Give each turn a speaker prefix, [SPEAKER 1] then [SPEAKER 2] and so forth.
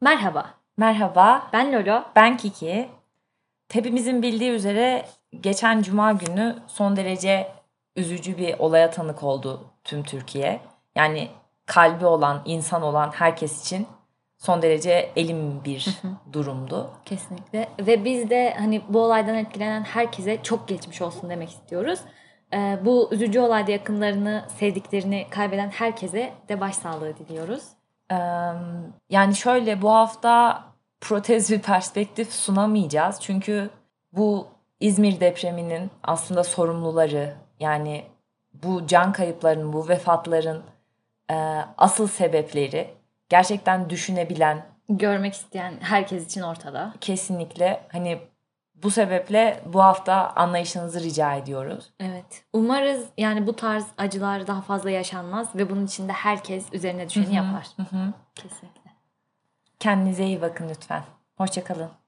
[SPEAKER 1] Merhaba,
[SPEAKER 2] Merhaba,
[SPEAKER 1] ben Lolo.
[SPEAKER 2] ben Kiki. Hepimizin bildiği üzere geçen cuma günü son derece üzücü bir olaya tanık oldu tüm Türkiye. Yani kalbi olan, insan olan herkes için son derece elim bir durumdu.
[SPEAKER 1] Kesinlikle. Ve biz de hani bu olaydan etkilenen herkese çok geçmiş olsun demek istiyoruz. Ee, bu üzücü olayda yakınlarını, sevdiklerini kaybeden herkese de başsağlığı diliyoruz.
[SPEAKER 2] Ee, yani şöyle bu hafta protez bir perspektif sunamayacağız. Çünkü bu İzmir depreminin aslında sorumluları yani bu can kayıpların, bu vefatların e, asıl sebepleri gerçekten düşünebilen
[SPEAKER 1] Görmek isteyen herkes için ortada.
[SPEAKER 2] kesinlikle hani bu sebeple bu hafta anlayışınızı rica ediyoruz.
[SPEAKER 1] Evet. Umarız yani bu tarz acılar daha fazla yaşanmaz ve bunun için de herkes üzerine düşeni yapar.
[SPEAKER 2] Hı hı.
[SPEAKER 1] Kesinlikle.
[SPEAKER 2] Kendinize iyi bakın lütfen. Hoşçakalın.